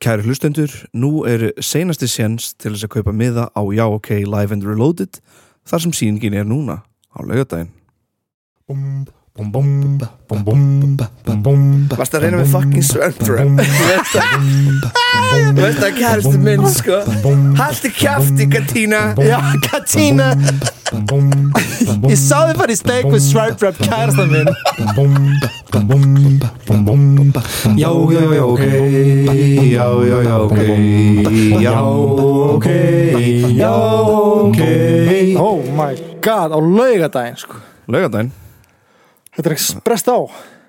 Kæri hlustendur, nú er seinasti séns til þess að kaupa miða á Já OK Live and Reloaded þar sem síningin er núna á laugardaginn. Bum, bum, bum, bum, bum, bum, bum, Varst að reyna með fucking Swamp Trap Þú veist að- Þú veist að kæristu minn sko Haltu kjafti Katína Já, Katína, ég sá þið bara í steik við Swipe Rap kærasta minn Já, já, já, ok, já, já, já, ok, já, ok, já, ok. Oh my god, á laugadaginn sko Laugardaginn, Þetta er ekki sprest á,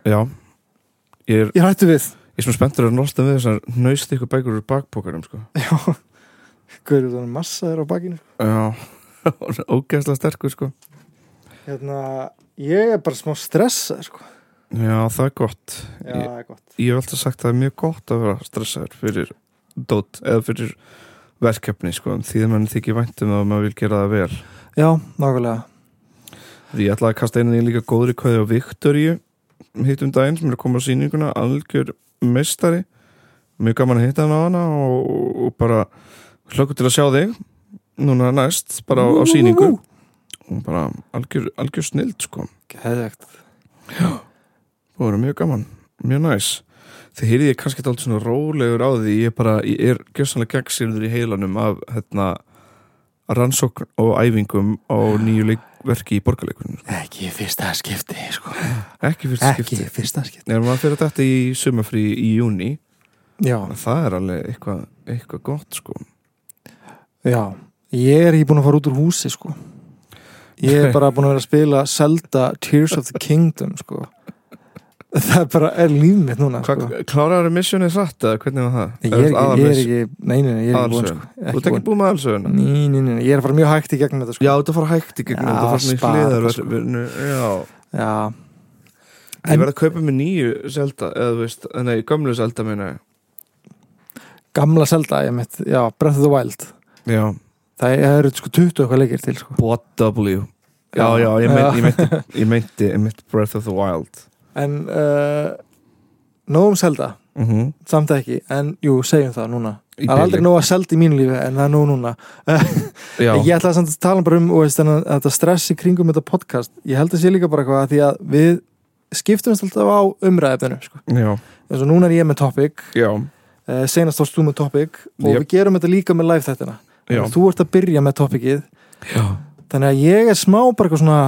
já, ég er, ég hættu við ég er svona spenntur að nálsta við þessar nöyst ykkur bækur úr bakpokarum, sko. Já, guður, það er massa þér á bakinu sko. Já, ógeðslega sterkur, sko. Hérna, ég er bara smá stressað sko Já, það er gott. Já, það er gott Ég hef alltaf sagt að það er mjög gott að vera stressaður fyrir dót eða fyrir verkefni, sko, en því að mann þykir væntum að maður vil gera það vel. Já, nákvæmlega Því ég ætlaði að kasta einu því líka góðri kvæði á Viktoríu hittum daginn sem er að koma á sýninguna algjör mestari mjög gaman að hitta hann á hana og, og bara hlökkum til að sjá þig núna næst bara á, á sýningu og bara algjör, algjör snild sko Geðvegt og verið mjög gaman, mjög næs þið heyrið ég kannski alltaf svona rólegur á því ég, bara, ég er gjössanlega gegnsýrður í heilanum af hérna, rannsókn og æfingum á nýju leikverki í borgarleikunum Ekki í fyrsta skipti sko ekki fyrst Ekki skipti í fyrsta skipti Nei, maður fyrir þetta í sumafrí í júni Já, Það er alveg eitthvað, eitthvað gott sko já Ég er ekki búin að fara út úr húsi sko Ég er bara búin að vera að spila Zelda Tears of the Kingdom sko Það er bara er líf mitt núna Hva, sko. Kláraðu missionið hratt eða hvernig var það? Ég er ekki, ég er Aðalmiss- ekki, nei, nei, nei, ég er ekki Mm. búinn aðalsöguna? sko, Þú ert ekki búin með allsöguna? Ný, ný, ný, ný, ég er að fara mjög hægt í gegnum þetta sko Já, þetta fara hægt í gegnum Já, Þetta fara svona í spara þetta, sko. hliðarverfinu Já, Já, En- ég verð að kaupa mér nýju selda eða þú veist, eh, nei, gömlu selda minna gamla Zelda, ég mitt, já, Breath of the Wild Já, Það eru sko 20 eitthvað leikir til sko What W Já, já, ég meinti, ég meinti, ég meinti, ég meinti Breath of the Wild En, uh, nóg um Zelda, mm samt ekki, en jú, segjum það núna Í Það er aldrei bili. nóg að Zelda í mínu lífi, en það er nóg núna Já, Ég ætlaði samt að tala bara um og veist, þennan- þetta stress í kringum þetta podcast Ég held að sé líka bara eitthvað að því að við skiptumst alltaf á umræðefninu sko. já, En svo núna er ég með topic já, uh, senast varst þú með topic og Yep. við gerum þetta líka með live þættina já, Þannig að þú ert að byrja með topikið já. þannig að ég er smá bara eitthvað svona,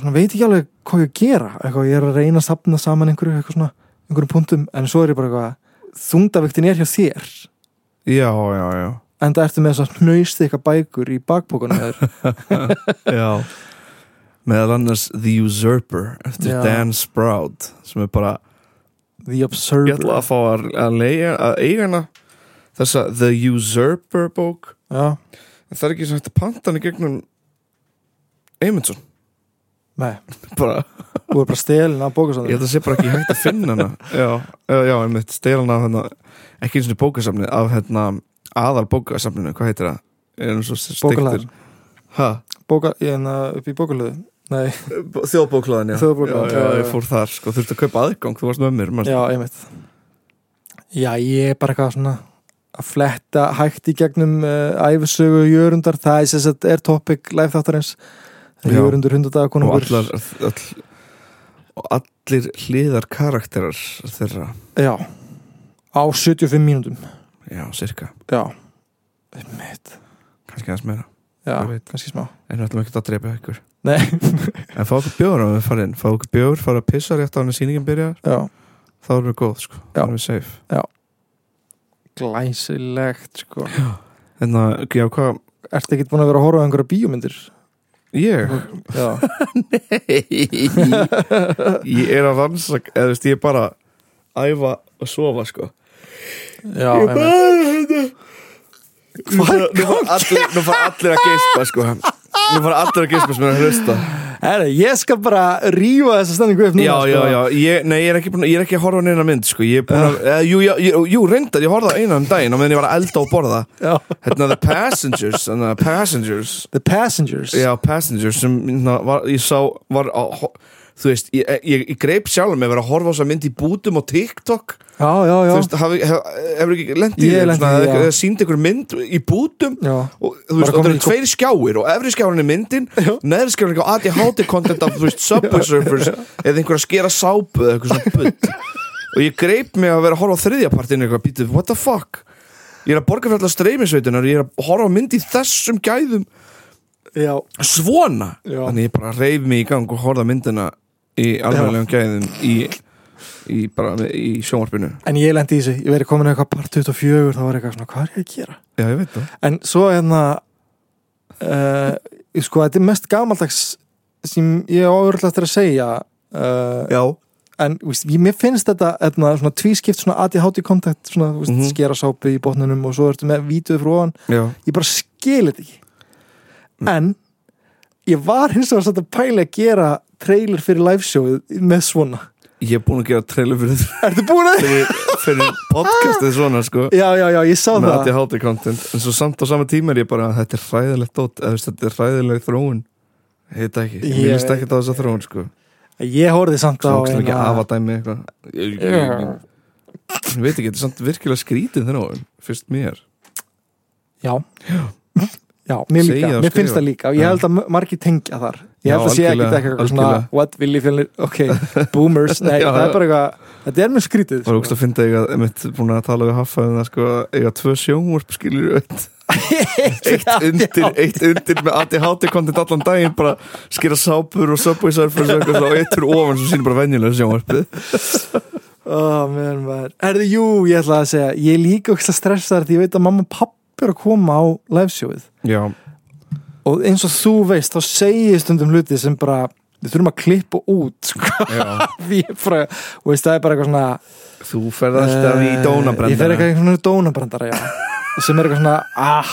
svona veit ekki alveg hvað ég á að gera eitthvað, ég er að reyna að sapna saman einhverju eitthvað svona, einhverjum punktum en svo er ég bara eitthvað þungdaviktin er hjá þér Já, já, já en það ertu með þess að hnaust eitthvað bækur í bakbókunum þér Já Meðal annars The Usurper eftir Já. Dan Sprout sem er bara, The Observer ég ætla að fá að, að, leiga, að eiga hana þessa The Usurper bók Já, en það er ekki sem hægt að panta hann í gegnum Eymundsson nei, bara, þú er bara stelin að bóka ég held að sé bara ekki hægt að finna hana já, já, já, einmitt, stela hana af hérna, ekki eins og bókasamni af hérna, aðal bókasamninu, hvað heitir það? er hann svo steiktur Bókalæðan, bóka, ég er hérna upp í bókalöðu Nei, þjóðbóklaðan, já. Þjóðbókhlaðan, já, já, já, já. ég fór þar, sko, þurfti að kaupa aðgang þú varst með mér, mann já, einmitt Já, ég er bara eitthvað svona að fletta hægt í gegnum uh, æfisögu Jörundar, það er sess að er topic live þáttarins Já. Jörundur og hundadagakonungur allar all, og allir hliðar karakterar þeirra Já, á 75 mínútum já, cirka, Já, einmitt kannski aðeins meira Já, Ég veit. kannski smá en við ætlum ekkert að drepa ykkur Nei, en fá okkur bjóður á við farin, fá okkur bjóður fara að pissa rétt á hann að sýningin byrjar já, þá erum við góð, sko, þá Já. erum við safe glæsilegt sko en að, Hérna, já, hvað Ertu ekki búin að vera að horfa á einhverja bíómyndir? ég, Já, ég er að rannsak eða þú veist, ég er bara að æfa að sofa, sko já, einmitt Hvað er gangi? Nú fara allir að geispa, sko Nú fara allir að geispa sem er að hlusta Herra, ég skal bara rífa þessa stemningu upp núna Já, sko. já, já, ég, nei, ég er ekki, búin, ég er ekki að horfa á neina mynd, sko Ég er búin að, uh, jú, já, jú, jú, reyndar, ég horfði á eina um daginn á meðan ég var að elda og borða Já. Hérna, The Passengers, þannig að Passengers The Passengers Já, Passengers, sem hérna, var, ég sá, var á, ho- þú veist, ég, ég, ég greip sjálf með að vera að horfa á þess að mynd í bútum og TikTok já, já, já, þú veist, hafi- hef- hefur ekki lendið Ég hef lent í því, já. sínd ykkur mynd í bútum já. og þú veist, Bara og það komin eru í kom- tveir skjáir og efri skjárin er myndin, neðri skjárin er eitthvað ADHD content af, þú veist, Subway Surfers eða einhver að skera sápu eða eitthvað svona butt og ég greip mig að vera að horfa á þriðjapartinu eitthvað, býtið, what the fuck ég er að borga fyrir allar streymisveitunar ég er að horfa á mynd í þessum gæðum já, svona Já. þannig ég bara reyf mig í gang og horfa á myndina í alveglegum gæðum í, í, bara, í sjónvarpinu en ég lendi í þessu ég verið komin í eitthvað part 24 þá var eitthvað svona, hvað er ég að gera já, ég veit það en svo hérna uh, sko, þetta er mest gamaldags sem ég á öðrulega eftir að segja uh, já, en þú veist, ég, mér finnst þetta etna, svona tvískipt svona ADHD kontakt svona þú veist, Mhm. skera sápu í botnunum og svo ertu með vítuð frá ofan já, ég bara skil þetta ekki en ég var hins vegar satt að pæla að gera trailer fyrir liveshowið með svona ég er búin að gera trailer fyrir Ertu búin að? fyrir, fyrir podcastið svona sko Já, já, já, ég sá með það ADHD content en svo samt á sama tíma er ég bara þetta er hræðilegt dót eða þú veist, þetta er hræðileg þróun ég veit það ekki, ég Ég- minnst ekki á þessa þróun sko Ég horfði samt á hérna- svo ógstlega ekki eina- afadæmi eitthvað ég, ég, ég, ég veit ekki, þetta er samt virkilega skrítið þróun fyrst mér Já Já, mér Segja líka, og mér skrifa. finnst það líka og ég Já. held að margir tengja þar Ég Já, held að sé ekki algjörlega, eitthvað svona algjörlega. What will you feel it? Ok, boomers Nei, Já, það já. er bara eitthvað Þetta er mjög skrítið Það sko. var ógst að finna eiga, einmitt búin að tala við Haffa en það sko, eiga tvö sjónvarp skilur eitt, eitt undir eitt undir með ADHD content allan daginn bara skera sápur og subway surfers og eitthvað svona, og eittur ofan sem sýnir bara venjulega sjónvarpið oh, man, man. Erðu, jú, ég ætla að segja Ég er líka ógst að stressa þar því ég veit að mamma og pappi er að koma á liveshowið Já, og eins og þú veist þá segir stundum hluti sem bara við þurfum að klippa út sko. já Því ég bara, og veist, það er bara eitthvað svona Þú ferð alltaf í eh, dónabrendina ég fer eitthvað í svona dónabrandara já. sem er eitthvað svona ah,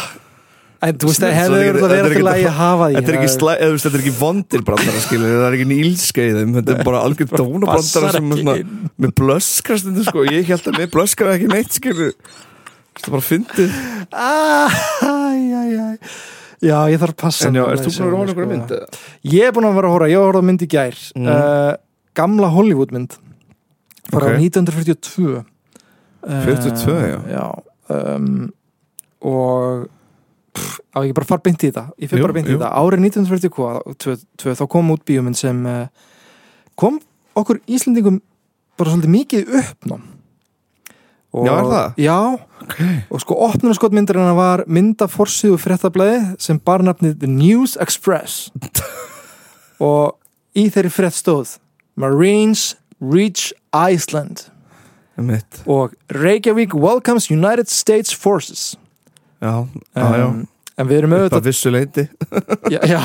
en þú veist það Þetta hefur er verið ekki- þetta er að vera til ekki- að ég hafa því Þetta er ekki, slæ, eða, þú veist, þetta er ekki vondirbrandara skilur, það er ekki nýlskeiðum þetta er bara algjör dónabrandara sem Passar er ekki svona, inn. með blöskra stundu sko, ég held að með blöskra ekki neitt skilur þetta er bara fyndið ah, æ, æ, æ. já ég þarf að passa En já, mig ert með þú þessu, búin að horfa sko. einhverja mynd? eða? ég er búin að vera að horfa, ég var að horfa á mynd í gær Mhm. uh, gamla Hollywood mynd frá Ok. 1942 uh, 42, já. Eh, um, og pff, á ég bara að fara beint í þetta ég fyrir Jú, bara beint í jú. þetta, árið 1942 þá kom út bíómynd sem uh, kom okkur Íslendingum bara svolítið mikið uppnám og, Já, er það? Já, Okay. og sko opnunarskotmyndarina var myndaforsið og fréttablaði sem bar nafnið The News Express og í þeirri frétt stóð Marines reach Iceland Mitt, og Reykjavík welcomes United States Forces já, já, Ah, já Um, en við erum Upp auðvitað að vissu leiti já, já.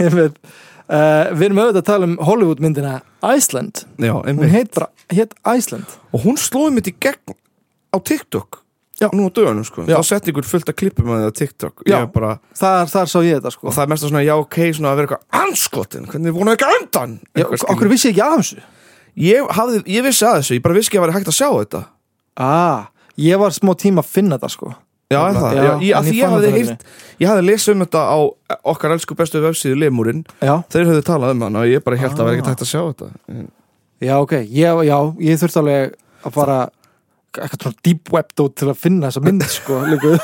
Einmitt. uh, við erum auðvitað að tala um Hollywood myndina Iceland Já, hún einmitt heit bara, heit Iceland Og hún slóði mitt í gegn á TikTok Já. Nú á dögunum sko Já. Þá setti ykkur fullt að klippum að það á TikTok Ég Já. er bara, þar, þar sá ég þetta sko Og það er mest að svona já ok svona að vera eitthvað anskotin Hvernig vonuð ekki undan Já, Eitthvað, skilur. okkur vissi ég ekki af þessu ég, hafði, ég vissi að þessu, ég bara vissi ekki að vera hægt að sjá þetta ah, ég var smá tíma að finna þetta sko Já, er það, Já, já, ég, en að ég því ég fann hafði þetta heyrt Ég hafði lesið um þetta á okkar elsku bestu vefsíðu Lemurinn, Já, þeir höfðu talað um hann og ég bara held að Ah. vera ekkert hægt að sjá þetta já, ok, ég, já, ég þurfti alveg að fara eitthvað svona deep web dót til að finna þessa mynd, sko, líka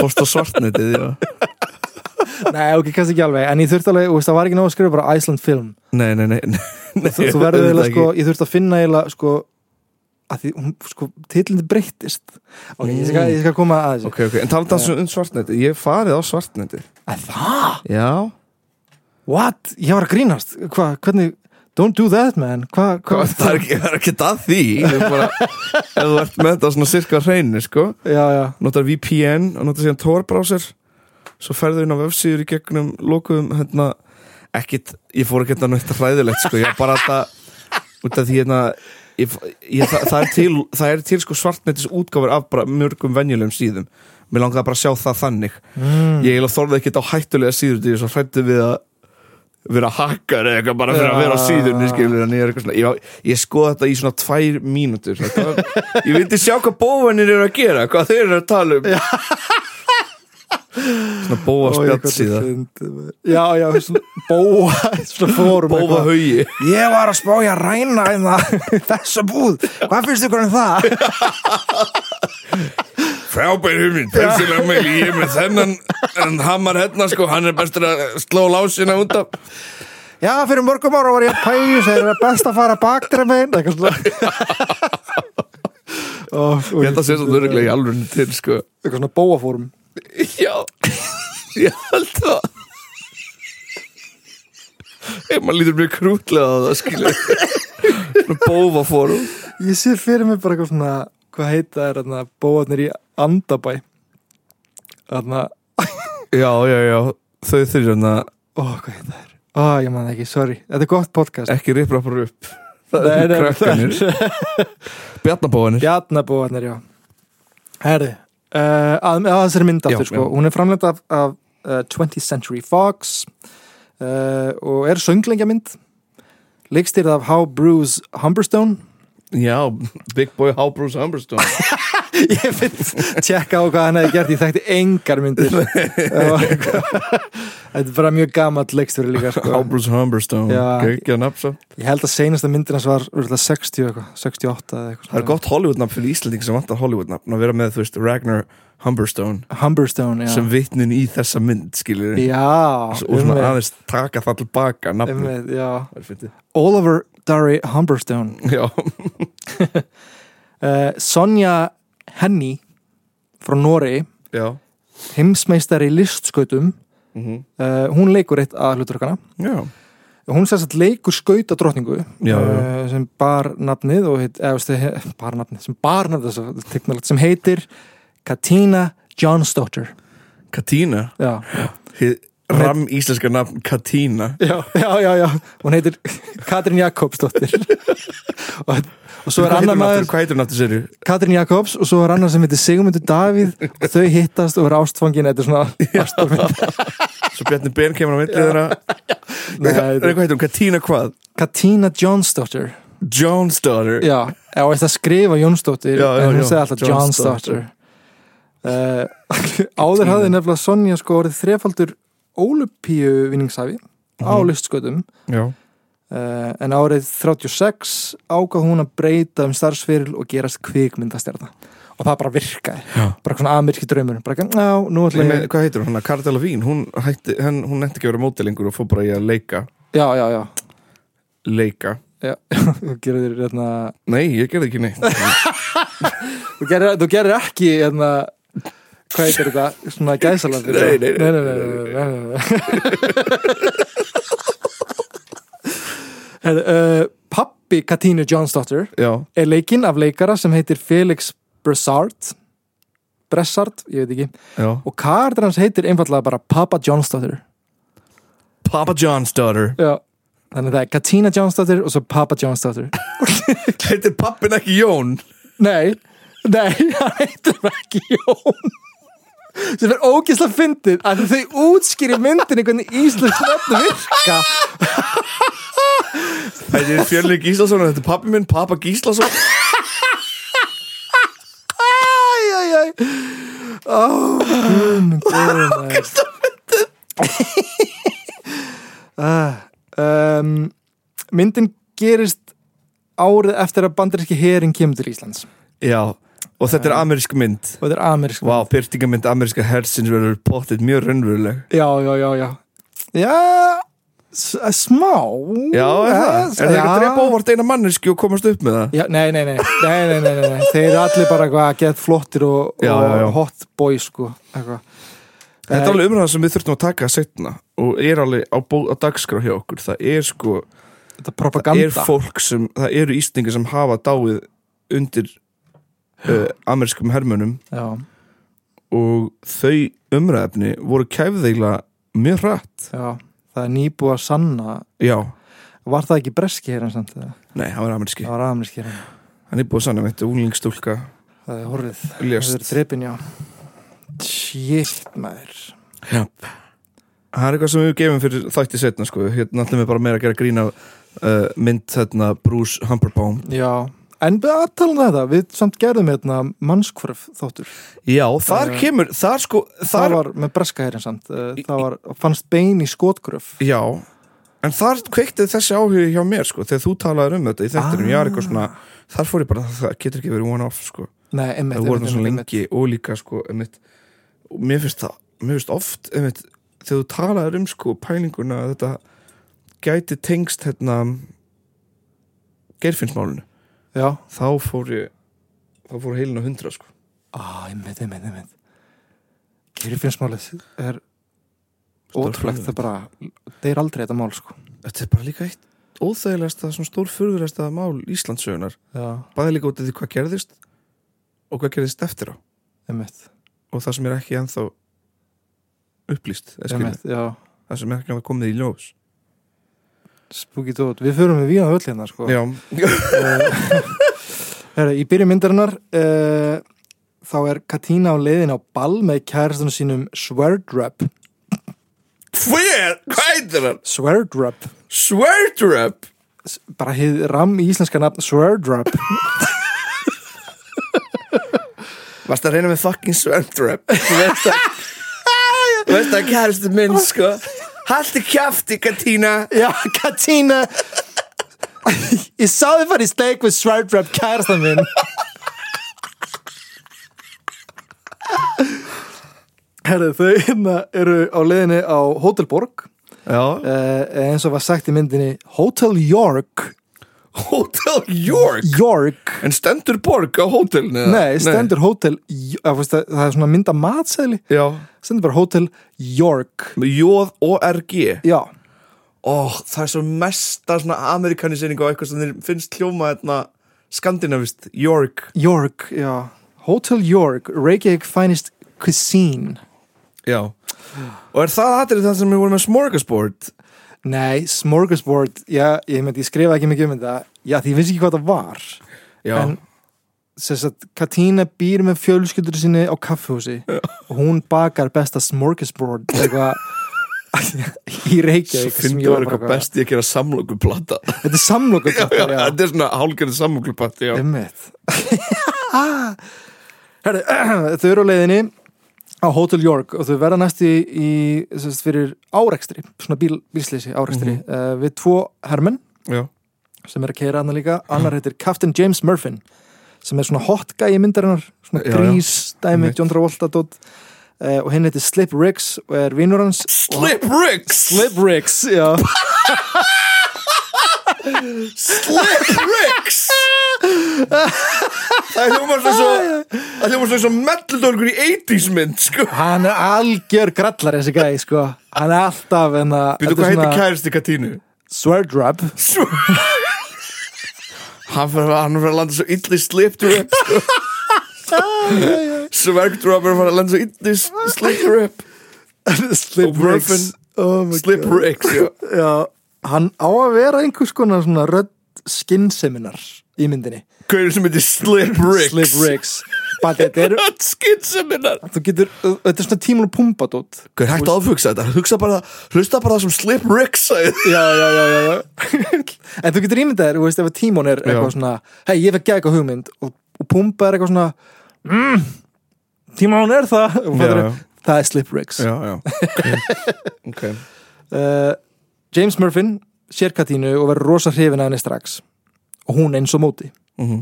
Fórst á svartnetið, já Nei, ok, kannski ekki alveg, en ég þurfti alveg, þú veist, það var ekki náðu að skrifa bara Iceland film Nei, nei, nei, nei, nei Þú, þú verður auðvitað eiginlega, ekki. sko, ég þurfti að finna eiginlega, sko að því, hún, sko, titlindi breyttist Ok, ég skal, ég skal koma að þessu Ok, ok, en talað það um svartnetið, ég hef farið á svartnetið Að það? Já What? Ég var að grínast, hvað, hvernig Don't do that, man, hvað, Hvað, hvað það er ekki, það er ekki að því Ég er bara, Ef þú ert með þetta svona sirka hreinu sko. Já, já, Notar VPN og notar síðan Tor-browser Svo ferðu inn á vefsíður í gegnum Lókuðum hérna ekkit, Ég fór ekki þetta nöitt hræðilegt sko. Ég var bara þetta Út af því hérna ég, ég, það, það er til, það er til sko, svartnetis útgáfur Af bara mörgum venjulegum síðum Mér langaði bara að sjá það þannig mm, Ég eiginlega þorði ekkit á hættulega síður Því ég svo hrættu við að vera hakkar eða eitthvað bara fyrir að vera á síðunni skilur, en ég, er eitthvað svona, ég, ég skoða þetta í svona tvær mínútur sko, þetta var, ég vildi sjá hvað bóvanir eru að gera hvað þeir eru að tala um Svona bóa spjall síða já, já, svona bóa svona fórum Bóa eitthvað. haugi ég var að spája að ræna hérna þessa búð, hvað finnst ykkur um það? Frábær hugmynd, persilega meil Ég er með þennan, en hamar hérna sko Hann er bestur að sló lásina út af já, fyrir mörgum ára var ég að pæju þegar er best að fara baktra megin eitthvað svona Ó, Ég held að sé svo þurruglega í alveg til sko eitthvað svona bóafórum Já, ég held það Ef maður lítur mjög krútlega á það skilur Svona bófa fórum ég sé fyrir mig bara eitthvað svona hvað heita er þarna bóarnir í Andabæ þarna, Já, já, já, þau þurr hérna ó hvað heita er ó ég man það ekki, sorry, þetta er gott podcast Ekki riprappar upp Það Nei, er nei, krakkanir Bjarnabóðanir Bjarnabóarnir, já herri, uh, að, að þessari mynd Já, aftur sko, já. hún er framleitt af, af uh, 20th Century Fox uh, og er sönglengjamynd leikstýrð af How Bruce Humberstone Já, Big Boy How Bruce Humberstone ég finn tjekka á hvað hann hefði gert ég þekkti engar myndir Og- þetta er bara mjög gamalt leikstur líka How sko. Bruce Humberstone Já. Gekkja nafsa ég held að seinasta myndir hans var örugglega 60 eitthvað, 68 eða eitthvað Það er gott Hollywoodnafn fyrir Íslanding sem vantar Hollywoodnafn að vera með, þú veist, Ragnar Humberstone Humberstone, já sem vitnin í þessa mynd, skilur já, og svona einmitt, aðeins taka það til baka nafnum einmitt, já. Það er fyndið. Oliver Darry Humberstone Já, uh, Sonja Henny frá Noregi já, heimsmeistari í listskautum Mhm. uh, hún leikur eitt að hluturkana já. hún sérst að leikur skauta drottningu Já, já. eh, sem bar nafnið og heit, eða, veist, bar nafnið, sem bar nafnið svo, teknilegt, sem heitir Katina Johnsdóttir Katína já. Hið ram íslenska nafn Katína Já, já, já, já, hún heitir Katrin Jakobsdóttir og, og svo er Hvað heitir annar hún aftur? maður Hvað heitir hún aftur séru? Katrin Jakobs og svo er annar sem heitir Sigmundur Davíð og þau hittast og er ástfangin þetta er svona ástfangin Svo Bjarni Ben kemur á milli þeirra Nei, Nei, Hvað heitir hún? Katína hvað? Katina Johnsdóttir Jones daughter Já, eða veist að skrifa Jónsdóttir Já, já, en hún já, segi alltaf Johnsdóttir. Johnsdóttir uh, Áður hafði nefnilega Sonja sko orðið þrefaldur ólupíu vinningshafi á Mhm. listskötum Já. uh, en árið 36 ákvað hún að breyta um starfsfyril og gerast kvikmyndastjarna og það bara virkaði, Já. bara svona amirki draumur bara ekki, já, nú ætla Nei, ég með- Hvað heitir hún? Karla Lavín, hún hætti henn, hún nefndi ekki að vera mótilingur og fór bara í að leika já, já, já, leika já. þú gerir þér hérna Nei, ég gerði ekki neitt þú gerir, þú gerir ekki hérna hvað heitir þetta, svona gæsalandi Nei, nei, nei. nei, nei, nei, nei, nei, nei. Her, uh, pappi Katínu Johnsdóttir Já, er leikinn af leikara sem heitir Felix Bressard Bressard, ég veit ekki já og karakter hans heitir einfallega bara Papa Johnsdóttir Papa John's daughter já Þannig að það er Katína Johnsdóttir og svo Papa Johnsdóttir Heitir pappin ekki Jón? Nei, nei, hann heitir bara ekki Jón sem er ógislega fyndið að þau útskýri myndinni hvernig Íslands nöfn virka Þetta er Fjörleik Gíslason og þetta er pappi minn, pappa Gíslason Æj, æj, æj Ó, guð minn góður Ógislega fyndið um, Myndin gerist árið eftir að bandaríski herin kemur til Íslands og Já, og þetta er amerísk mynd þetta er amerísk Vá, byrtingamynd ameríska hersins verður pottit mjög raunveruleg Já, já, já, já Já, s- eh, smá Eh, Já, er það? Er það ekki að Já. drepa óvart eina manneski og komast upp með það? Já, nei, nei, nei, nei, nei, nei, nei, nei. þeir eru allir bara eitthvað að geta flottir og, Já, og já, já. hot boy sko eitthvað. Eh, Þetta er alveg umræða sem við þurftum að taka setna og er alveg á, bó, á dagskrá hjá okkur það er sko, Þetta er propaganda er fólk sem það eru Íslingar sem hafa dáið undir uh, amerískum hermönum já, og þau umræðefni voru kæfðeila mjög hratt já, það er nýbúið að sanna Já, Var það ekki breski hér en samt það? nei, hann var ameríski Það var amerísk hér en Hann er búið að sanna með þetta úlingstúlka Það er horfið Það er lést drepin, já Shit, maður Yep. Það er eitthvað sem við gefum fyrir þætti setna sko. Hérna ætlum við bara meira að gera grín af uh, mynd hérna Bruce Humberbaum Já, En við aðtalum þetta, við samt gerðum hérna mannskvörf þáttur. Já, þar Uh, Eh, kemur, þar sko þar, Það var með breska herrin samt. eh, Það var, fannst bein í skotgröf. Já, en þar kveiktið þessi áhugi hjá mér sko, þegar þú talaðir um þetta í þettinum, Ah. ég er eitthvað svona þar fór ég bara, það getur ekki verið one off sko Nei, einmitt. það voru einmitt, það svona einmitt, lengi og líka sko, einmitt, og mér finnst það mér finnst oft, einmitt, þegar þú talaðir um sko pælinguna að þetta gæti tengst hérna geirfinnsmálinu einmitt. Já, þá fór ég þá fór heilin á hundra sko Á, einmitt, einmitt, einmitt. Geirfinnsmálið er Stór ótrúlegt, furðulegt. það bara, það er aldrei þetta mál, sko. þetta er bara líka eitt óþægilegasta, svona stór furðulegasta mál Íslandsögunar Já, bæði líka út af því hvað gerðist og hvað gerðist eftir á einmitt, og það sem er ekki ennþá upplýst, eða skilur, einmitt, já. það sem er ekki ennþá komið í ljós Spooky Dót, við förum við vína öll hérna, sko. Já, Herra, í byrju myndarinnar uh, þá er Katína á leiðin á ball með kærastunum sínum Sverdrup Hver? Hvað heitir hann? Sverdrup, Sverdrup bara hið ram í íslenska nafn Sverdrup Varst að reyna með fucking Sverdrup Þú veist að Þú veist að kæristu minn sko Haltu kjafti Katína Já, Katína Ég sá þið farið í steik við Sverdrup kærastan minn Herra, þau hérna eru á leiðinni á Hotel Borg já, uh, eins og var sagt í myndinni Hotel York Hotel York York en stendur borg á hótelni? Nei, stendur hótel J- eða, veist, það- Það er svona mynda matseðli Já, Stendur bara hótel York með jóð og RG Já, Ó, það er svo mesta svona amerikanisering á eitthvað sem þeir finnst hljóma þarna hérna skandinavist, York York, já Hotel York, Reykjavík Finest Cuisine Já Og er það aðrið það sem við vorum með smorgasbord? Nei, smorgasbord Já, ég, myndi, ég skrifa ekki mikið um þetta Já, því ég vissi ekki hvað það var Já, En sem sagt, Katína býr með fjölskyldur sinni á kaffehúsi og hún bakar besta smorgasbord eitthvað í Reykjavík sem finnum ég við var bara eitthvað eitthvað- best ég að gera samlokuplata Þetta er samlokur Já, þetta er svona hálgerð samlokuplata, já Einmitt. Herri, þau eru á leiðinni á Hotel York og þau verða næstu í, í sem sagt, fyrir árekstri, svona bíl, bílslýsi árekstri Mhm. uh, við tvo hermenn Já, sem er að keira annar líka, annar heitir Captain James Murfin sem er svona hot guy í myndarinnar, svona Já, já. grís dæmi, Einmitt. John Travolta dot, uh, og henni heitir Slip Riggs og er vinur hans Slip Ricks Slip Riggs, já Slip Ricks Það hljóma svona svo Það hljóma svona svo meldaldorgur í 80s mynd sko Hann er algjör grallar þessi gæði, sko Hann er alltaf hérna, en að veitu hvað heitir kæristi Katínu? Swerdrub Svo- Hann fyrir hann fyrir að landa svo illi Slip Rip sko Svergdrop er að fara að landa svo illi Slip Rip Slip Og Murfin. Riggs. oh my Slip God. Ricks já Já, Hann á að vera einhvers konar svona rödd skinnseminar í myndinni Hver sem heitir Slip Ricks Slip Riggs Bara þetta er, Rödd skynseminnar þú getur, þetta er svona tímul pumpadót Hver hægt að ofhugsa þetta Hugsa bara, hlusta bara það sem Slip Ricks sagði Já, já, já, já, já. En þú getur ímyndað þér, þú veist, ef að tímon er eitthvað svona Hei, ég fekk eitthvað hugmynd og, og pumpa er eitthvað svona mm, Tímon er það og Já, fattarðu, já. Það er Slip Riggs Já, já Ok, okay. uh, James Murfin sér Katínu og verður rosa hrifin að henni strax og hún eins og móti Mhm.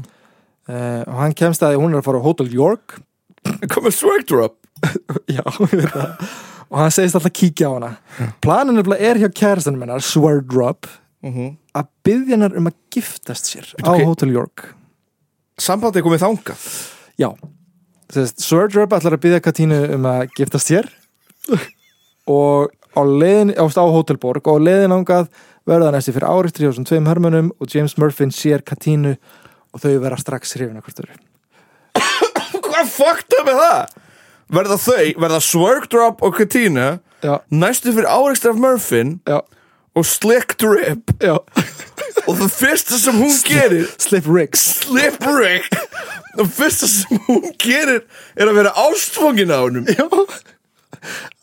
uh, og hann kemst að því að hún er að fara á Hotel York Komið Svergdrop já, ég veit það og hann segist alltaf kíkja á hana planin nefnilega er hjá kærastanum hennar Swerdrop Mhm. að byggja hennar um að giftast sér á hver- Hotel York Sambandi er komið þangað já, Sest, Swerdrop ætlar að byggja Katínu um að giftast sér og á leiðin á, á Hotelborg og á leiðin ángað verða hann eftir fyrir áriktri og svona tveim hörmunum og James Murfin sér Katínu og þau verða strax hrifin að hvort öru Hvað fucked up er það? Verða þau, verða Swergdrop og Katína já, næstu fyrir áreikstri af Murfin já, og Slick Drip já og það fyrsta sem hún gerir Slip Riggs Slip Rick það fyrsta sem hún gerir er að vera ástfóngin á hennum já,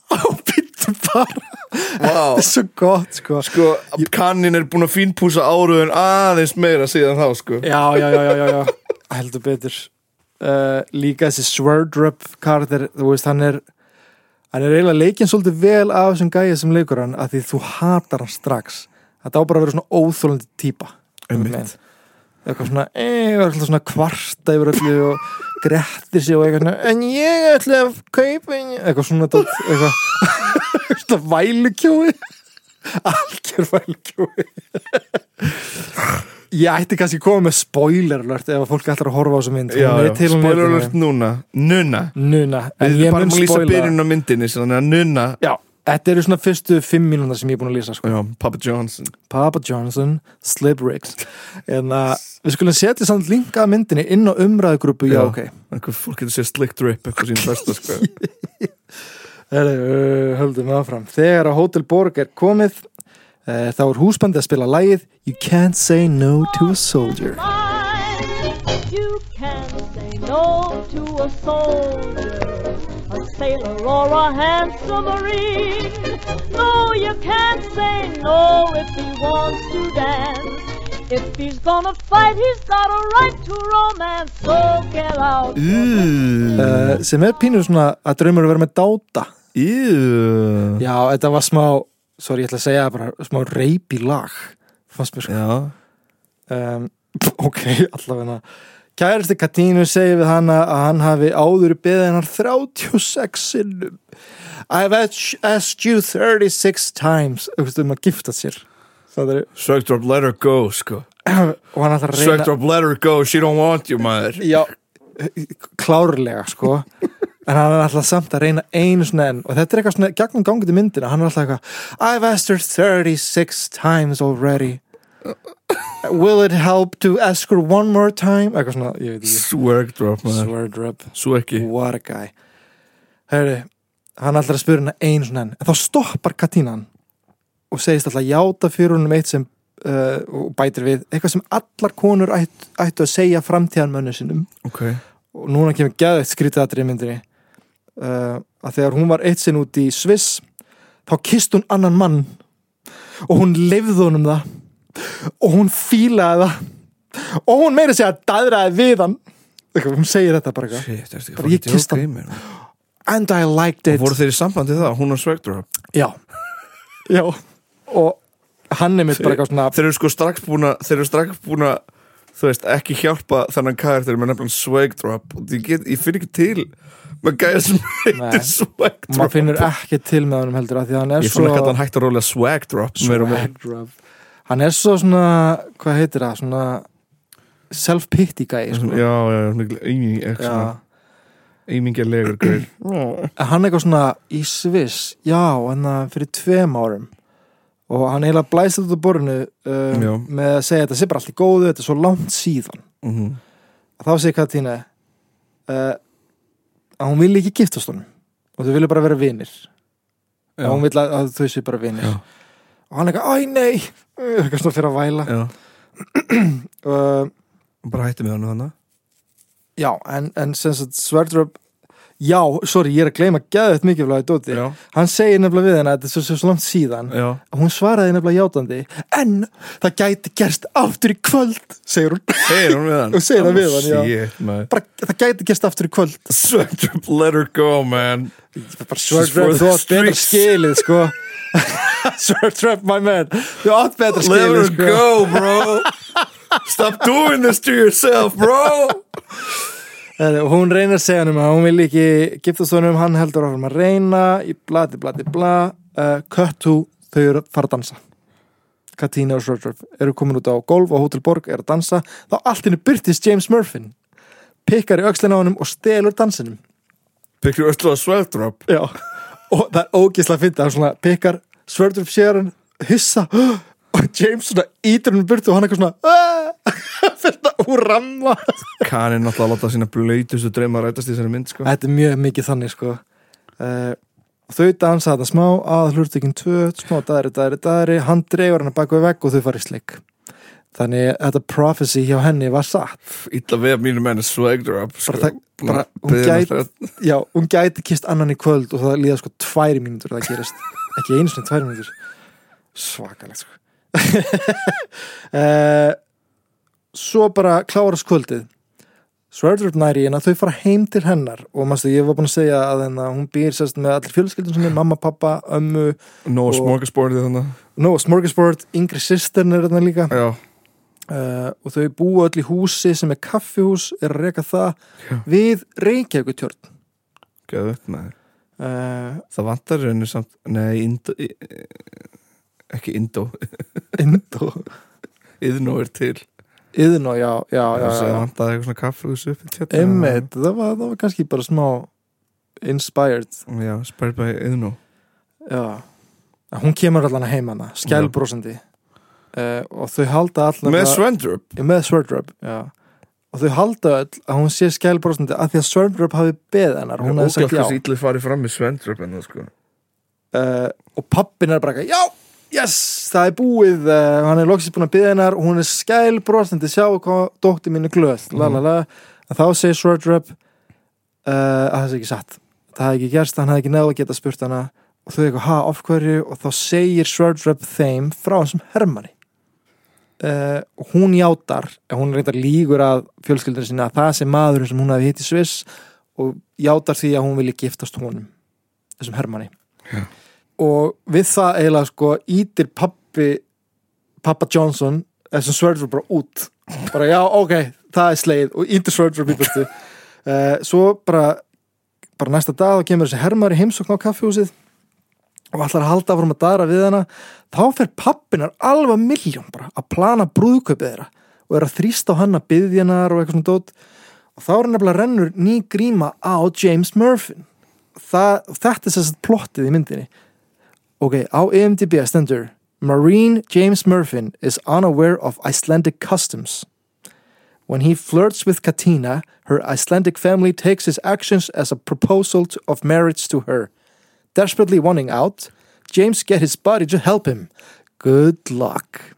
á býttu bara Vá. þetta er svo gott sko Sko, kannin er búin að fínpúsa áruðun aðeins meira síðan þá, sko já, já, já, já, já, já. heldur betur uh, líka þessi Sverdrup karakter, þú veist, hann er hann er eiginlega leikinn svolítið vel af þessum gæja sem leikur hann, að því þú hatar hann strax, þetta á bara að vera svona óþólandi típa Einmitt. Einhvern veginn. eitthvað svona, e, er alltaf svona kvarta yfir öllu og grettir sig og eitthvað svona, en ég ætla að kaupa inn- eitthvað svona dót, eitthvað svona vælukjói algjör vælukjói ég ætti kannski að koma með spoiler alert ef að fólk ætlar að horfa á þessu mynd Já, Hún er já, til á spoiler netinu. alert núna Núna Núna, en Við ég erum bara mun að lýsa spoila byrjun á myndinni Þannig að núna Já, þetta eru svona fyrstu fimm mínúna sem ég er búin að lýsa sko. Já, Papa Johnson Papa Johnson, Slip Rigs en að við skulum setja samt linka að myndinni inn á umræðugrúpu já, Já. ok Einhver fólk getur séð slick drip eitthvað sín besta sko Heru, uh, höldum áfram þegar að Hotel Borg er komið uh, þá er húsbandi að spila lagið You Can't Say No to a Soldier mine. You can say no to a soldier, a sailor, or a handsome marine. No, you can't say no if he wants to dance. If he's gonna fight, he's got a right to romance. So get out. uh, sem er pínur svona að draumur að vera með dáta Íu já, þetta var smá sorry, ég ætla að segja það bara smá reypi lag fannst mér sko Já um, ok, allavega kærasti Katínu segir við hana að hann hafi áður beðið hennar 36 sinnum I've asked- asked you 36 times Þú veist, um að gifta sér Það er, Shrug drop let her go sko og hann ætlar að Shrug reyna drop let her go She don't want you maður já, klárlega sko en hann er alltaf samt að reyna einu svona enn og þetta er eitthvað svona gegnum gangið í myndina hann er alltaf eitthvað I've asked her 36 times already will it help to ask her one more time eitthvað svona, ég veit ekki Shrug drop maður Swerdrup, Svo ekki what a guy Hörru, hann ætlar að spura hennar einu svona enn, en þá stoppar Katínan og segist alltaf að játa fyrir honum eitt sem uh, og bætir við, eitthvað sem allar konur ætt, ættu að segja framtíðan mönnu sinum Ok og núna kemur geðveitt skrítið aðrið myndinni uh, að þegar hún var eitt sinn út í Sviss þá kist hún annan mann og hún lefði honum það og hún fílaði það og hún meira segja að daðraði við hann Eitthvað, hún segir þetta bara eitthvað Shit, ertu ekki Bara ég fucking kyssti hann. joking, man? and I liked it Voru þeir í sambandi það, hún og Shrug drop já. já og hann er mitt bara eitthvað svona Þeir eru sko strax búin að Þeir eru strax búin að Þú veist, ekki hjálpa þannan karakter með nefnilega swag drop og ég, get, ég finn ekki til með gæja sem heitir swag drop maður finnur ekki til með honum heldur að því að hann er Ég fann svo ekki að hann hægt að rólega swag drop meira og meira. Swag drop. hann er svo svona hvað heitir það svona self-pity guy sko. Mhm, Já, já, mikil aiming Já. Aimingalegur gaur En hann eitthvað svona í Sviss já, hann að fyrir tveim árum og hann eiginlega blæst út á borðinu um, Já. með að segja þetta sé bara allt í góðu þetta er svo langt síðan Mhm. þá segir Katína uh, að hún vil ekki giftast honum og þau vilja bara vera vinir Já. og hún vil að, að þau séu bara vinir Já. og hann eitthvað, æ nei eitthvað svona fyrir að væla Já, uh, bara hætti með hann þannig já, en, en sem sagt Sverdrup já, sorry, ég er að gleyma geðvægt mikið fyrir að dóti Já, hann segir nefnilega við henni að þetta er svo, svo, svo langt síðan já, og hún svaraði nefnilega játandi en það gæti gerst aftur í kvöld segir hún, segir hún við hann Og segir hann við hann, já. Shit, man bara, það gæti gerst aftur í kvöld Sweatdrop, let her go, man bara for Sverdrup, the þú átt betra streets." skilið sko Sverdrup, my man þú átt betra Let skilið her sko go, bro Stop doing this to yourself, bro Herri, og hún reynir að segja hann um að hún vil ekki giftast honum, hann heldur áfram að reyna í blati, blati, bla uh, Köttu, þau eru að fara að dansa Katína og Sverdrup eru komin út á golf og Hotel Borg er að dansa þá allt henni byrtist James Murfin pikkar í öxlina á honum og stelur dansinum Picture öllu að sweatdrop Já, og það er ógislega fyndið það er svona pikkar, Svördrup sér hann hissa og James svona ítur hann burtu og hann eitthvað "Ah!" svona fyrir það úr ramma Kanin náttúrulega að láta sína blöytustu drauma að rætast í þessari mynd, sko Þetta er mjög mikið þannig sko uh, þau dansa þetta smá að hlurtökin tvö, smá daðri, daðri, daðri hann dreifur hann að baka við vegg og þau fara í slik þannig að þetta prophecy hjá henni var satt Ítla við að mínu menn er sweatdrop, sko Bara það- bara- hún Biðin gæti- eftir að- já, hún gæti kist annan í kvöld og það líða sko tværi mínútur að það gerist ekki einu sinni tvær mínútur svakalegt sko uh, svo bara klárast kvöldið Sverdrup næri hérna, þau fara heim til hennar og manstu, ég var búin að segja að hennar, hún býr sérst með allir fjölskyldun sinni, mamma, pappa, ömmu Nó Og- smorgasbórið þannig no, smorgasbord, yngri systern er hérna líka Já, uh, og þau búa öll í húsi sem er kaffihús, er að reka það við Reykjavíkutjörn geðvett maður uh, Það vantar reynu samt Nei, indó í- Ekki indó Indó Iðnó er til Iðnó, já, já, já, Það já. vantar eitthvað svona kaffehús upp í tjörn Einmitt, það var, það var kannski bara smá inspired Já, spærið bæði iðnó Já, En hún kemur allan að heim hana, skælbrósandi uh, og þau halda allan Með að- Svendrup Já, með Sverdrup, já og þau halda öll að hún sé skælbrósandi að því að Sverdrup hafi beð hennar hún hefði sagt já Óglæð hversu ítlið farið fram með Svendrup en það sko uh, og pappin er bara eitthvað, já, yes, það er búið uh, hann er loksins búin að byggja hennar hún er skælbrostandi, sjá hvað dóttir mín er glöð la la la, en þá segir Swordrup uh, að það sé ekki satt það hefði ekki gerst, hann hefði ekki náðu að geta spurt hana og þau eitthvað, ha, af hverju og þá segir Swordrup þeim frá þessum hermanni Uh, og hún játar, en hún reyndar lígur að fjölskyldurinn sinna að það sé maðurinn sem hún hafi hitt í Sviss og játar því að hún vilji giftast honum þessum hermanni og við það eiginlega sko ítir pappi pappa Johnson þessum Sverdrup bara út bara já ok, það er sleið og ítir Sverdrup í byrtu uh, svo bara, bara næsta dag þá kemur þessi hermar í heimsókn á kaffihúsið og ætlar að halda áfram að dara við hana þá fer pappinar alveg miljón bara að plana brúðkaupið þeirra og er að þrýsta á hann að byðja hennar og eitthvað svona dót og þá er nefnilega rennur ný gríma á James Murphy Það, þetta er sérst plottið í myndinni Ok, á IMDb stendur Marine James Murfin is unaware of Icelandic customs. When he flirts with Katina, her Icelandic family takes his actions as a proposal to- of marriage to her. Desperately wanting out, James get his buddy to help him. Good luck.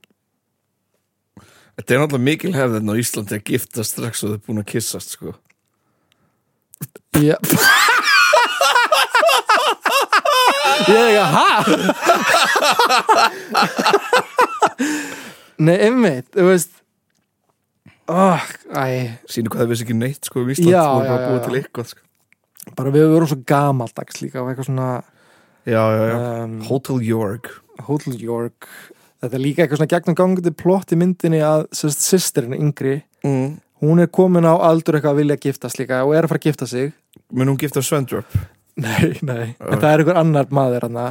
Þetta er náttúrulega mikil hefðin á Íslandi að gifta strax og þau er búin að kissast sko Já Ég er ekki að ha Nei, einmitt, þú veist oh, Æ, Sýnir hvað það vissi ekki neitt sko um Ísland Já, sko, bara já, búið já, til eitthvað sko bara við vorum svo gamaldags líka og eitthvað svona Já, já, já um, Hotel York Hotel York þetta er líka eitthvað svona gegnum gangandi plott í myndinni að sérst sýstirinn yngri mm. hún er komin á aldur eitthvað að vilja giftast líka og er að fara að gifta sig Mun hún gifta Svendrup? nei, nei, en það er einhver annar maður hann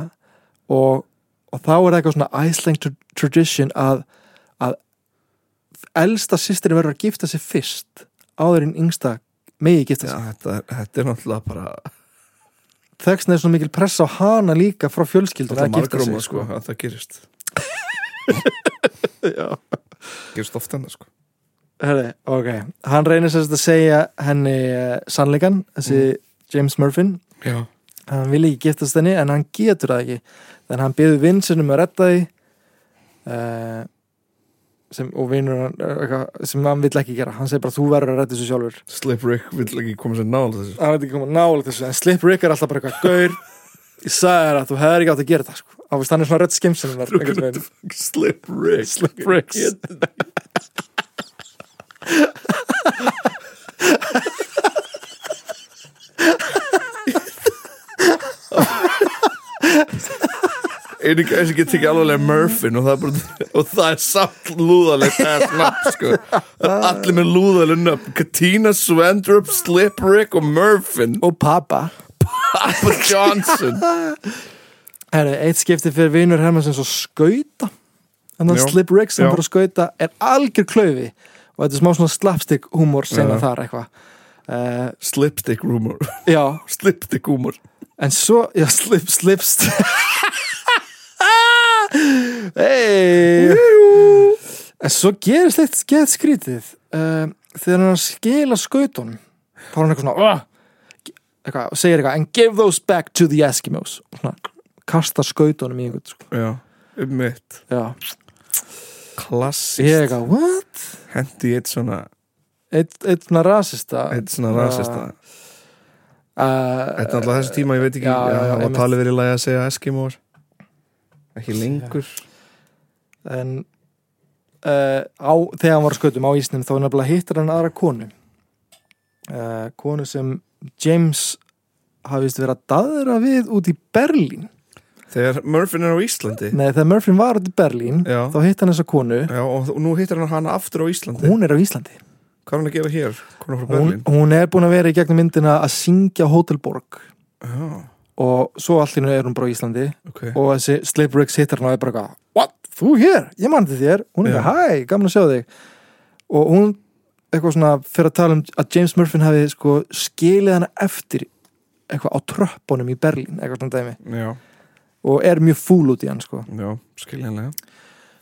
og, og þá er það eitthvað svona Iceland tr- tradition að, að elsta sýstirinn verður að gifta sig fyrst áður en yngsta megi gifta sig Já, þetta, er- þetta er náttúrulega bara þessna er svona mikil pressa á hana líka frá fjölskyldun Þetta að er gifta sig margróma sko, að það gerist Gerist oft hennar sko Herri, ok, hann reynir sérst að segja henni uh, sannleikan, þessi Mhm. James Murfin, Já hann vil ekki giftast henni en hann getur það ekki, þannig hann byrður vinn sinum að retta því uh, sem, og vinnur hann, eh, eitthvað, sem hann vill ekki gera, hann segir bara þú verður að retta þessu sjálfur, Slip Rick vill ekki koma sér nála þessu hann veit ekki koma nálega þessu, en Slip Rick er alltaf bara eitthvað gaur, ég sagði þér að þú hefðir ekki átt að gera það, sko, hann veist hann er svona rett skemsinum einhvern veginn. Slip Rick Slip Ricks. Einu gæði sem getur ekki alveg Murfin og það, er bara, og það er samt lúðalegt ass nafn sko Það er Allir með lúðaleg nöfn Katina Svendrup, Slip Rick og Murfin og og pappa Papa Johnson Herri, eitt skipti fyrir vinur Hermansson svo skauta en þannig Já. Slip Rick sem Já. fyrir að skauta er algjör klaufi og þetta er smá svona slapstick humor sena Já. þar eitthvað uh, Slipstick rumor já, Slipstick humor en svo já, slip, slipst hei en svo gerist eitt gett skrítið uh, þegar hann er að skila skautunum þá er hann eitthvað svona "Ugh," eitthvað, og segir eitthvað and give those back to the Eskimos og svona, kasta skautunum í einhvern sko. Já, um mitt Já, ég Klassist er eitthvað, what? Hendi eitt svona, Eitt, eitt svona rasista eh, eitt svona rasista uh, Þetta er alltaf þessu tíma, ég veit ekki já, já, já, Það var einmitt. talið verið í lagi að segja Eskimóar ekki lengur en uh, á, þegar hann var á skautum á ísnum þá nefnilega hittir hann aðra konu uh, konu sem James hafðist verið að daðra við út í Berlín þegar Murfin er á Íslandi Nei, þegar Murphy var út í Berlín Já. þá hitt hann þessa konu Já, og þ- og nú hittir hann hana aftur á Íslandi hún er á Íslandi Hvað er hann að gera hér? Konar frá hún, Berlín hún er búin að vera í gegnum myndina að syngja Hotelborg Já, og svo allt í nú er hún bara á Íslandi ok og þessi Slave Briggs hittar hann og er bara eitthvað What? Þú hér? Ég mann til þér Hún er Já. eitthvað, hæ, gaman að sjá þig og hún eitthvað svona fyrir að tala um að James Murphy hafi sko skilið hana eftir eitthvað á tröppunum í Berlín eitthvað svona dæmi Já, og er mjög fúl út í hann sko já, skiljanlega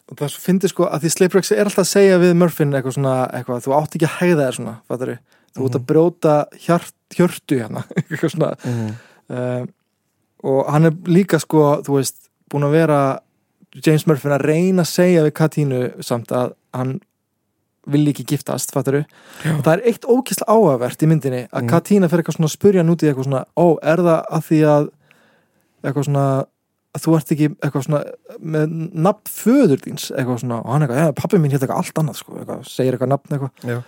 og það er svo fyndi sko að því Slave Briggs er alltaf að segja við Murphy eitthvað svona eitthvað, þú átt ekki að hegða þér svona fattari. þú ert að brjóta hjart, hjörtu hérna eitthvað svona uh, og hann er líka sko, þú veist, búin að vera James Murphy að reyna að segja við Katínu samt að hann vil ekki giftast, fattaru og það er eitt ókysla áhugavert í myndinni að Mhm. Katína fer eitthvað svona að spurja hann út í eitthvað svona ó, er það að því að eitthvað svona, að þú ert ekki eitthvað svona, með nafn föður þíns, eitthvað svona, og hann eitthvað, ja, pappi mín hétt eitthvað allt annað, sko, eitthvað, segir eitthvað nafn eitthvað Já,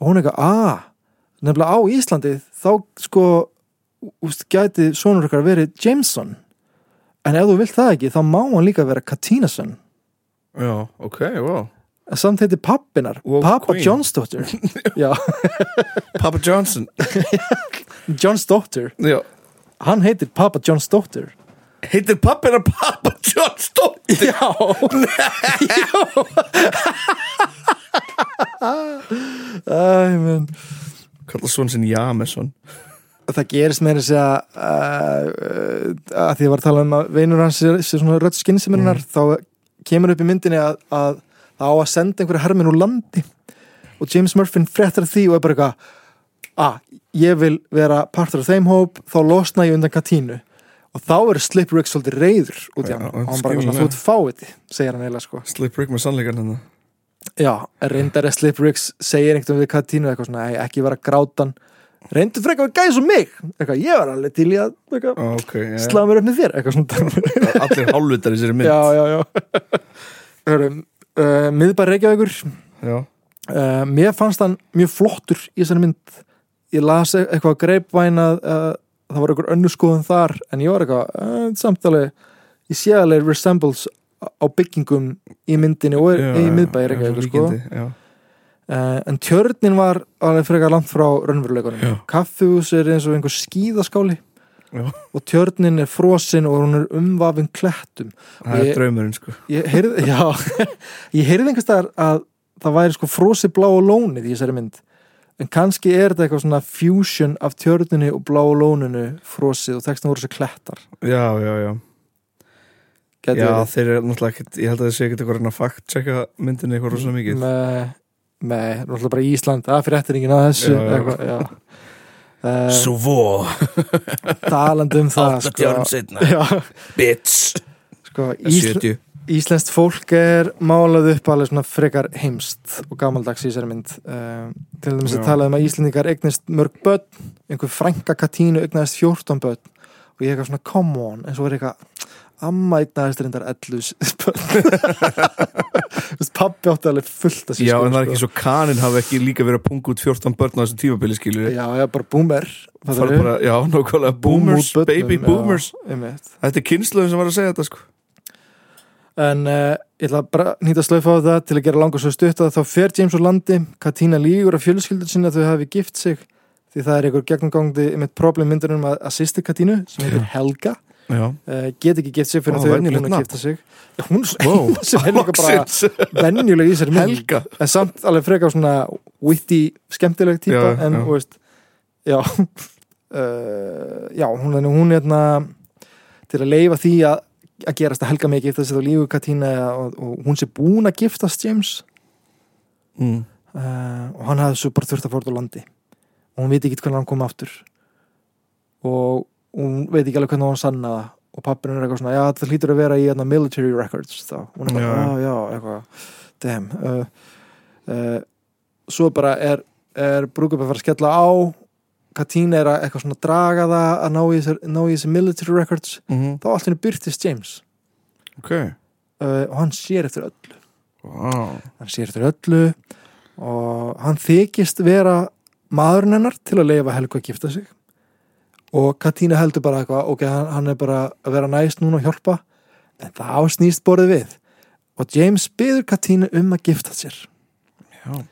og hún eitthvað, að nefnilega á Íslandi þá sko úst, gæti sonur okkar verið Jameson en ef þú vilt það ekki þá má hann líka vera Katinason já, ok, wow en samt heiti pappinar, Og pappa Queen. Johnsdóttir já, Papa Johnson Johnsdóttir Já, hann heitir pappa Johnsdóttir heitir pappina Papa Johnston já, já. Æ, menn Kallar svona sinn Jameson það gerist meira þess að uh, að því að var að tala um að vinur hans sé sé svona rödd skynsemirinnar þá kemur upp í myndinni að, að það á að senda einhverja herminn úr landi og James Murphy fréttar því og er bara eitthvað að ég vil vera partur af þeim hóp þá losna ég undan katínu og þá er Slip Rick svolítið reyður út í Já, hann og hann bara skiljanlega. eitthvað svona þú ert fáiði segir hann eiginlega sko Slip Rick með hérna. sannleikan hann Já, reyndar að Slip Riggs segir einhvern veginn við Katínu eitthvað svona, "Æ, ekki vera grátan reyndu frekar að gæs og mig eitthvað, ég var alveg til í að eitthvað, Ah, Ok, já, slá mér upp með þér eitthvað svona dæmi. allir hálflutar í sér mynd Já, já, já Hörum, uh, miðbær Reykjavíkur já. uh, mér fannst hann mjög flottur í þessari mynd ég las e- eitthvað greipvæn að uh, það var einhver önnu skoðun þar en ég var eitthvað uh, samtali ég sé alveg resembles á á byggingum í myndinni og er, Já, í já, miðbæri já, Reykjavíkur sko. líkindi, já. Uh, en tjörnin var alveg frekar langt frá raunveruleikunum. Já. Kaffihús er eins og einhver skíðaskáli Já. og tjörnin er frosin og hún er umvafin klettum. Það er Ég- draumurinn sko Ég heyrði, já, ég heyrði einhvers staðar að það væri sko frosi bláa lónið í þessari mynd. En kannski er þetta eitthvað svona fusion af tjörninni og bláa lóninu frosið og textin voru svo klettar. Já, já, já Gæti Já, verið. þeir eru náttúrulega ekkert Ég held að þeir sé ekkert eitthvað að reyna að fact-checka myndinni eitthvað rosa mikið Með, með, náttúrulega bara í Ísland, að fyrir eftiringin að þessu. Já, já. Eitthvað, já. Uh, Svo, talandi um það sko, setna já, Bitch sko, Ísl 70 Íslenskt fólk er málað upp alveg svona frekar heimst og gamaldags í þessari mynd um, til þess að Já. tala um að Íslendingar eignist mörg börn, einhver frænka Katínu eignast 14 börn og ég eitthvað svona come on, en svo er eitthvað amma eignast reyndar 11 börn pappi átti alveg fullt sko. að Já, en það er ekki svo kaninn hafi ekki líka verið að punga út 14 börn á þessu tífabili skilur já, já, bara boomer Það er bara, já, nákvæmlega boomers, baby boomers einmitt Þetta er kynsluðum sem var að segja þetta sko En uh, ég ætla bara að nýta að slaufa á það til að gera langar svo stutt að þá fer James úr landi, Katína lígur af fjölskyldur sinni að þau hafi gift sig því það er einhver gegnumgangdi með problem myndunum að, að sýsti Katínu sem heitir Helga Já, uh, get ekki gift sig Ó, fyrir að þau eru venjulegt búin að nafn. gifta sig Já, Hún er svo Vó. eina sem er líka bara loksins venjuleg í þessari mynd Helga en samt alveg frekar svona witty, skemmtileg típa Já, en já. þú veist já uh, já, hún, hún, hún hérna til að leifa því að, að gerast að helga mig að giftast þetta lífu Katína og, og hún sé búin að giftast James mm. uh, og hann hafði svo bara þurft að fórt á landi og hún veit ekki hvernig hann kom aftur og hún veit ekki alveg hvernig hann sanna það og pappinu er eitthvað svona, já þetta hlýtur að vera í hérna, military records þá, hún er bara, Já. já, já, eitthvað damn uh, uh, svo bara er, er brúkup að fara að skella á Katína er að eitthvað svona draga það að ná í þessi, ná í þessi military records Mm þá allt henni byrtist James ok, uh, og hann sér eftir öllu wow hann sér eftir öllu og hann þykist vera maðurinn hennar til að leifa Helgu að gifta sig og Katína heldur bara eitthvað ok, hann, hann er bara að vera næst núna og hjálpa en það snýst borðið við og James byður Katínu um að gifta sér Já.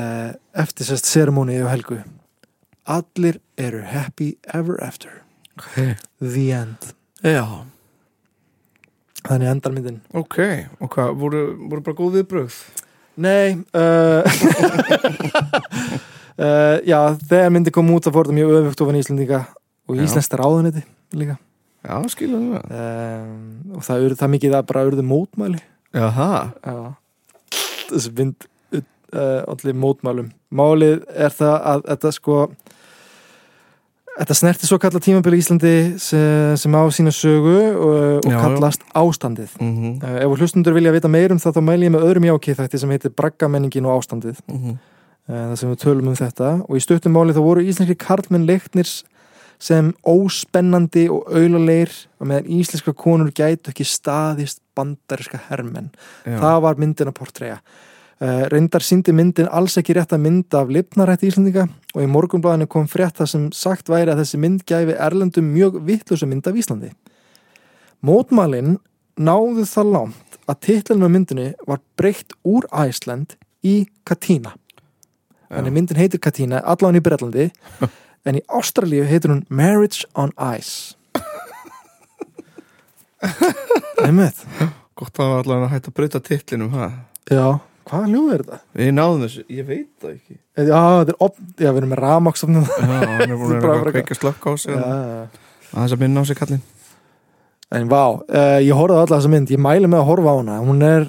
Eh, eftir sérst seremóni og Helgu allir eru happy ever after ok, the end Já þannig endar myndin ok og hvað, voru, voru bara góð viðbrögð Nei uh, uh, Já, þegar myndi kom út að fór það mjög öfugt ofan í Íslendinga og Já. íslenskt ráðunetti líka já, skilum við um, og það, ur, það mikið að bara urðu mótmæli jaha, Já Þessi mynd uh, allir mótmælum Málið er það að þetta sko Þetta snerti svo kalla tímabili í Íslandi sem, sem á sína sögu og, og Já, já. kallast ástandið mhm Uh, ef hlustundur vilja vita meir um það þá mæli ég með öðrum jákið þætti sem heitir Braggamenningin og ástandið mm -hmm. uh, þar sem við tölum um þetta og í stuttum máli þá voru íslenski karlmenn leiknir sem óspennandi og aulalegir og meðan íslenska konur gætu ekki staðist bandariska hermenn það var myndin að portræja uh, reyndar síndi myndin alls ekki rétt að mynda af lipnarætti Íslendinga og í morgunblæðinu kom frétt það sem sagt væri að þessi mynd gæfi Erlendum mjög vittlösa mynd af Íslandi mótmælin náðu það langt að titlanum á myndinu var breytt úr Æsland í Katína þannig myndin heitir Katína allan í Bretlandi en í Ástralíu heitir hún Marriage on Ice einmitt gott að allavega hægt að breyta titlinum ha? já, hvaða ljóð er þetta? við náðum þessu, ég veit það ekki Já, þetta er op... Já, við erum með rafmaksofnum. já, hann er búin að Bara vera að frekar. kveika slökk á sig að Já. þess að minna á sig kallin En vá, uh, ég horfði á alla þessa mynd, ég mæli með að horfa á hana. Hún er,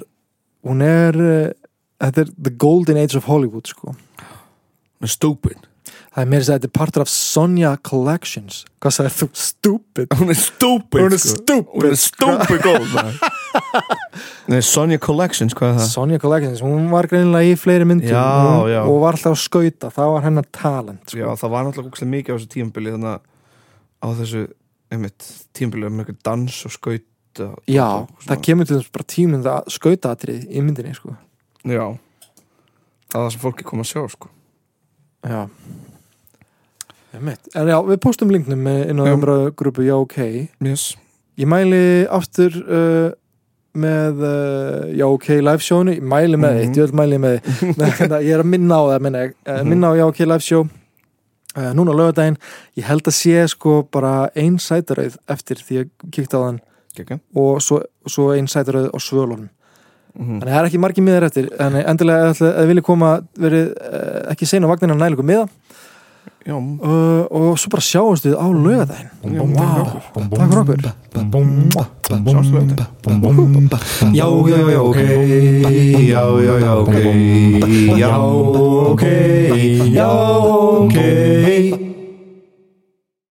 hún er, uh, þetta er the golden age of Hollywood, sko. stúpid, Það er meira þess að segja, þetta er partur af Sonja Collections. Hvað sagðið þú? Stupid. hún er stúpid sko. Hún er stúpid, hún er stúpid góð maður. Nei, Sonja Collections, hvað er það? Sonja Collections, hún var greinilega í fleiri myndum Já, hún, já. og var alltaf að skauta, það var hennar talent, sko. Já, það var náttúrulega ógstlega mikið á þessu tímabili þannig að á þessu einmitt, tímabili með einhver dans og skaut og- Já, og það svona. kemur til þess bara tímynd að skautaatrið í myndinni, sko. Já, það var það sem fólki kom að sjá sko. Já Einmitt. En já, við postum linknum eh, inn á Já. umræðugrúpu Já, ok yes. Ég mæli aftur uh, með uh, Já, ok live showinu Ég mæli með Mhm. Mhm. eitt, ég vil mæli með Nei, Ég er að minna á það, minna, uh, minna á Já, ok live show uh, Núna á laugardaginn Ég held að sé sko bara ein sætarauð eftir því ég kíkti á þann Gekka og svo, svo ein sætarauð á svölunum Mhm. Þannig að það er ekki margir miðar eftir en endilega ef þið vilja koma verið uh, ekki seina á vagnina næla ykkur miða Já, uh, og svo bara sjáumst við á laugadaginn Takk fyrir okkur. Já, já, já, ok Já, já, já, ok Já, ok Já, ok